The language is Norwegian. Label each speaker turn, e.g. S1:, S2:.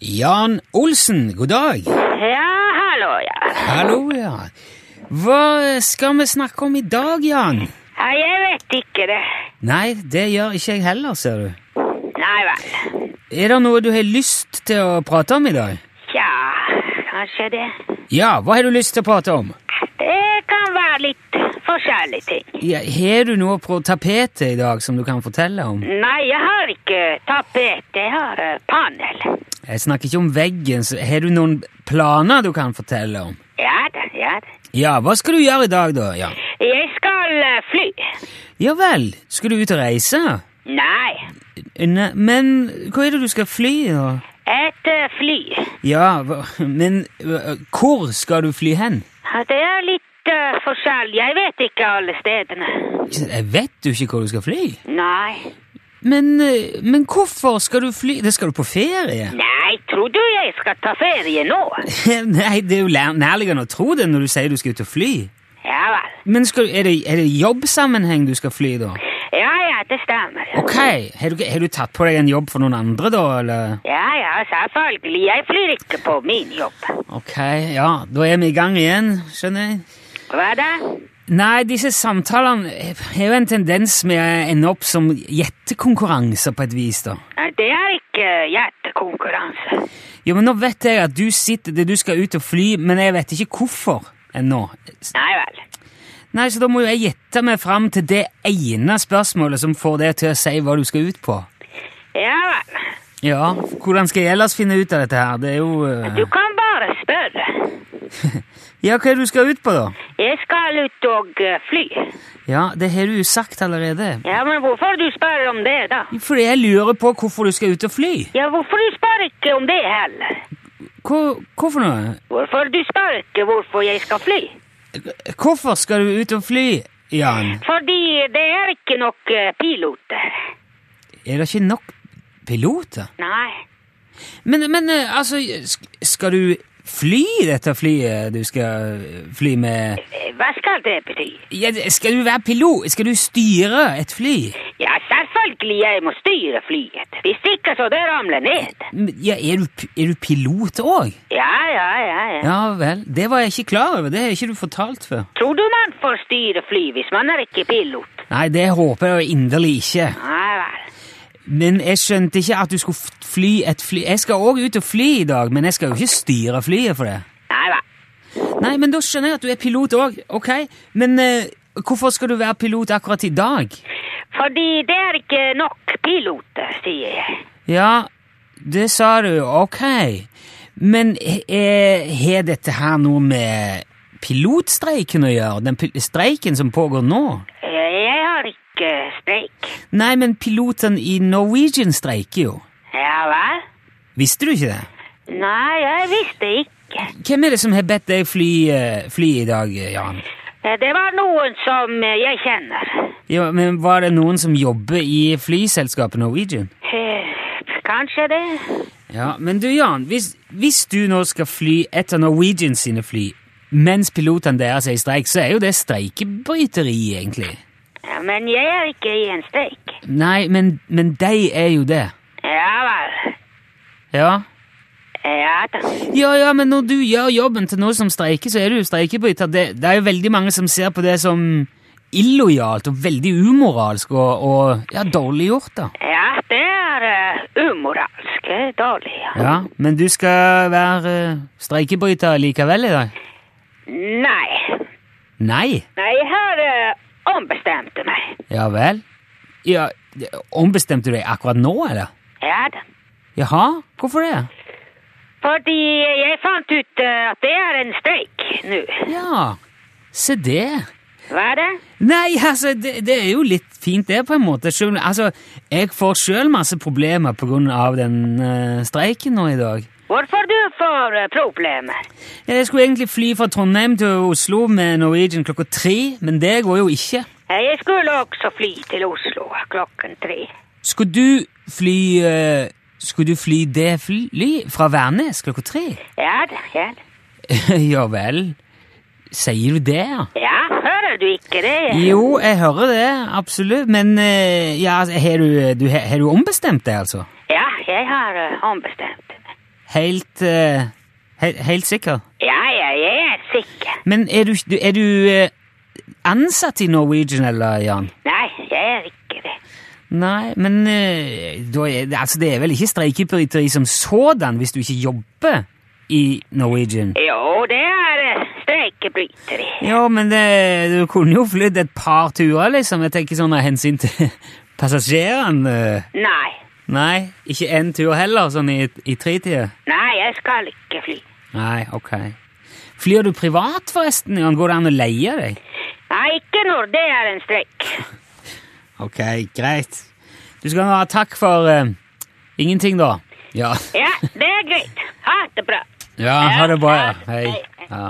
S1: Jan Olsen, god dag.
S2: Ja, hallo, ja.
S1: Hallo, ja. Hva skal vi snakke om i dag, Jan?
S2: ja. Jeg vet ikke det.
S1: Nei, det gjør ikke jeg heller, ser du.
S2: Nei vel.
S1: Er det noe du har lyst til å prate om i dag?
S2: Tja, kanskje det.
S1: Ja, hva har du lyst til å prate om?
S2: Det kan være litt forskjellige ting.
S1: Ja, har du noe på tapetet i dag som du kan fortelle om?
S2: Nei, jeg har ikke tapet. Jeg har eh, panel.
S1: Jeg snakker ikke om veggen, så har du noen planer du kan fortelle om?
S2: Ja da, ja da.
S1: Ja, hva skal du gjøre i dag, da? Ja,
S2: Jeg skal eh, fly.
S1: ja vel, skal du ut og reise?
S2: Nei,
S1: Ne men hva er det du skal fly, da?
S2: et eh, fly.
S1: Ja, hva- men øh, hvor skal du fly hen?
S2: Ja, Det er litt eh, forskjellig. Jeg vet ikke alle stedene.
S1: Jeg vet jo ikke hvor du skal fly.
S2: Nei.
S1: Men, øh, men hvorfor skal du fly? Det skal du på ferie?
S2: Nei, tror du jeg skal ta ferie nå?
S1: Nei, det er jo lær- nærliggende å tro det når du sier du skal ut og fly.
S2: Ja vel.
S1: Men skal, du- er, det, er det jobbsammenheng du skal fly, da?
S2: Ja, ja, det stemmer.
S1: Ok, har du, har du tatt på deg en jobb for noen andre, da, eller?
S2: Ja, ja, selvfølgelig. Jeg flyr ikke på min jobb.
S1: Ok, ja, da er vi i gang igjen, skjønner jeg.
S2: Hva da?
S1: Nei, disse samtalene har jo en tendens med å ende opp som gjettekonkurranser på et vis, da.
S2: Nei, Det er ikke hjertekonkurranse.
S1: Jo, men nå vet jeg at du sitter det du skal ut og fly, men jeg vet ikke hvorfor ennå. S-
S2: Nei vel.
S1: Nei, så da må jo jeg gjette meg fram til det ene spørsmålet som får deg til å si hva du skal ut på.
S2: Ja vel.
S1: Ja, hvordan skal jeg ellers finne ut av dette her? Det er jo eh,
S2: Du kan bare spørre.
S1: Ja, hva er det du skal ut på, da?
S2: Jeg skal ut og eh, fly.
S1: Ja, det har du jo sagt allerede.
S2: Ja, men hvorfor du spør om det, da?
S1: Fordi jeg lurer på hvorfor du skal ut og fly.
S2: Ja, hvorfor du spør ikke om det heller?
S1: Hvor, hvorfor noe?
S2: Hvorfor du spør ikke hvorfor jeg skal fly?
S1: Hvorfor skal du ut og fly, Jan?
S2: Fordi det er ikke nok eh, piloter.
S1: Er det ikke nok piloter?
S2: Nei.
S1: Men, men eh, altså, sk- skal du fly i dette flyet du skal eh, fly med?
S2: Eh, Hva skal det bety?
S1: Ja, d- skal du være pilot? Skal du styre et fly?
S2: Ja, selvfølgelig jeg må styre flyet. Hvis ikke så det ramler ned.
S1: M- Ja, er du, p- er du pilot òg?
S2: Ja, ja, ja, ja.
S1: Ja vel, det var jeg ikke klar over, det har ikke du fortalt før.
S2: Tror du man får styre fly hvis man er ikke pilot?
S1: Nei, det håper jeg inderlig ikke.
S2: Nei vel.
S1: Men jeg skjønte ikke at du skulle f- fly et fly. Jeg skal òg ut og fly i dag, men jeg skal jo ikke styre flyet for det.
S2: Nei vel.
S1: Nei, men da skjønner jeg at du er pilot òg, ok? Men eh, hvorfor skal du være pilot akkurat i dag?
S2: Fordi det er ikke nok piloter, sier jeg.
S1: Ja, det sa du. Ok. Men eh, har dette her noe med pilotstreiken å gjøre? Den pil- streiken som pågår nå?
S2: Eh, Jeg har ikke streik.
S1: Nei, men pilotene i Norwegian streiker jo.
S2: Ja vel?
S1: Visste du ikke det?
S2: Nei, jeg visste ikke.
S1: Hvem er det som har bedt deg fly, eh, fly i dag, eh, Jan?
S2: Eh, Det var noen som eh, jeg kjenner.
S1: Ja, men Var det noen som jobber i flyselskapet Norwegian?
S2: Eh, Kanskje det?
S1: Ja, Men du, Jan, hvis, hvis du nå skal fly et av Norwegian sine fly mens pilotene deres er i streik, så er jo det streikebryteri, egentlig.
S2: Ja, Men jeg er ikke i en streik.
S1: Nei, men, men de er jo det.
S2: Ja vel.
S1: Ja.
S2: Ja da.
S1: ja, ja, men når du gjør jobben til noen som streiker, så er du jo streikebryter. Det, det er jo veldig mange som ser på det som illojalt og veldig umoralsk og, og ja, dårlig gjort, da.
S2: Ja, det er eh, umoralsk. eh, Dårlig. ja.
S1: Ja, Men du skal være eh, streikebryter likevel i dag?
S2: Nei.
S1: Nei?
S2: Nei, jeg har eh, ombestemt meg.
S1: Ja vel? Ja, Ombestemte du deg akkurat nå, eller?
S2: Ja da.
S1: Jaha? Hvorfor det?
S2: Fordi jeg fant ut eh, at det er en streik nå.
S1: Ja, se det.
S2: Hva er det?
S1: Nei, altså, det, det er jo litt fint det, på en måte. Selv, altså, jeg får sjøl masse problemer pga. den eh, streiken nå i dag.
S2: Hvorfor du får eh, problemer?
S1: Jeg skulle egentlig fly fra Trondheim til Oslo med Norwegian klokka tre, men det går jo ikke.
S2: Eh, Jeg skulle også fly til Oslo klokken tre.
S1: Skulle du fly eh, Skulle du fly det fly fra Værnes klokka tre?
S2: Ja da, ja da.
S1: ja vel. Sier du det, ja?
S2: Ja, hører du ikke det?
S1: Jo, jeg hører det, absolutt, men eh, ja, altså, har du, du, har har du ombestemt deg, altså?
S2: Ja, jeg har eh, ombestemt meg.
S1: Helt, eh, he helt sikker?
S2: Ja, ja, jeg er sikker.
S1: Men er du, du- er du eh, ansatt i Norwegian, eller, Jan?
S2: Nei, jeg er ikke det.
S1: Nei, men eh, da er, det- altså, det er vel ikke streikebryteri som sådan hvis du ikke jobber i Norwegian?
S2: Jo, det er eh, streikebryteri.
S1: Ja, men det, du kunne jo flydd et par turer, liksom. Jeg tenker sånn av hensyn til passasjerene. eh.
S2: Nei.
S1: Nei, ikke én tur heller, sånn i, i tretida.
S2: Nei, jeg skal ikke fly.
S1: Nei, ok. Flyr du privat, forresten? Jan? Går det an å leie deg?
S2: Nei, ikke når det er en streik.
S1: Ok, greit. Du skal ha takk for eh, ingenting, da. Ja.
S2: Ja, det er greit. Ha det bra.
S1: ja, ha det bra. Ja. Hei. Ja.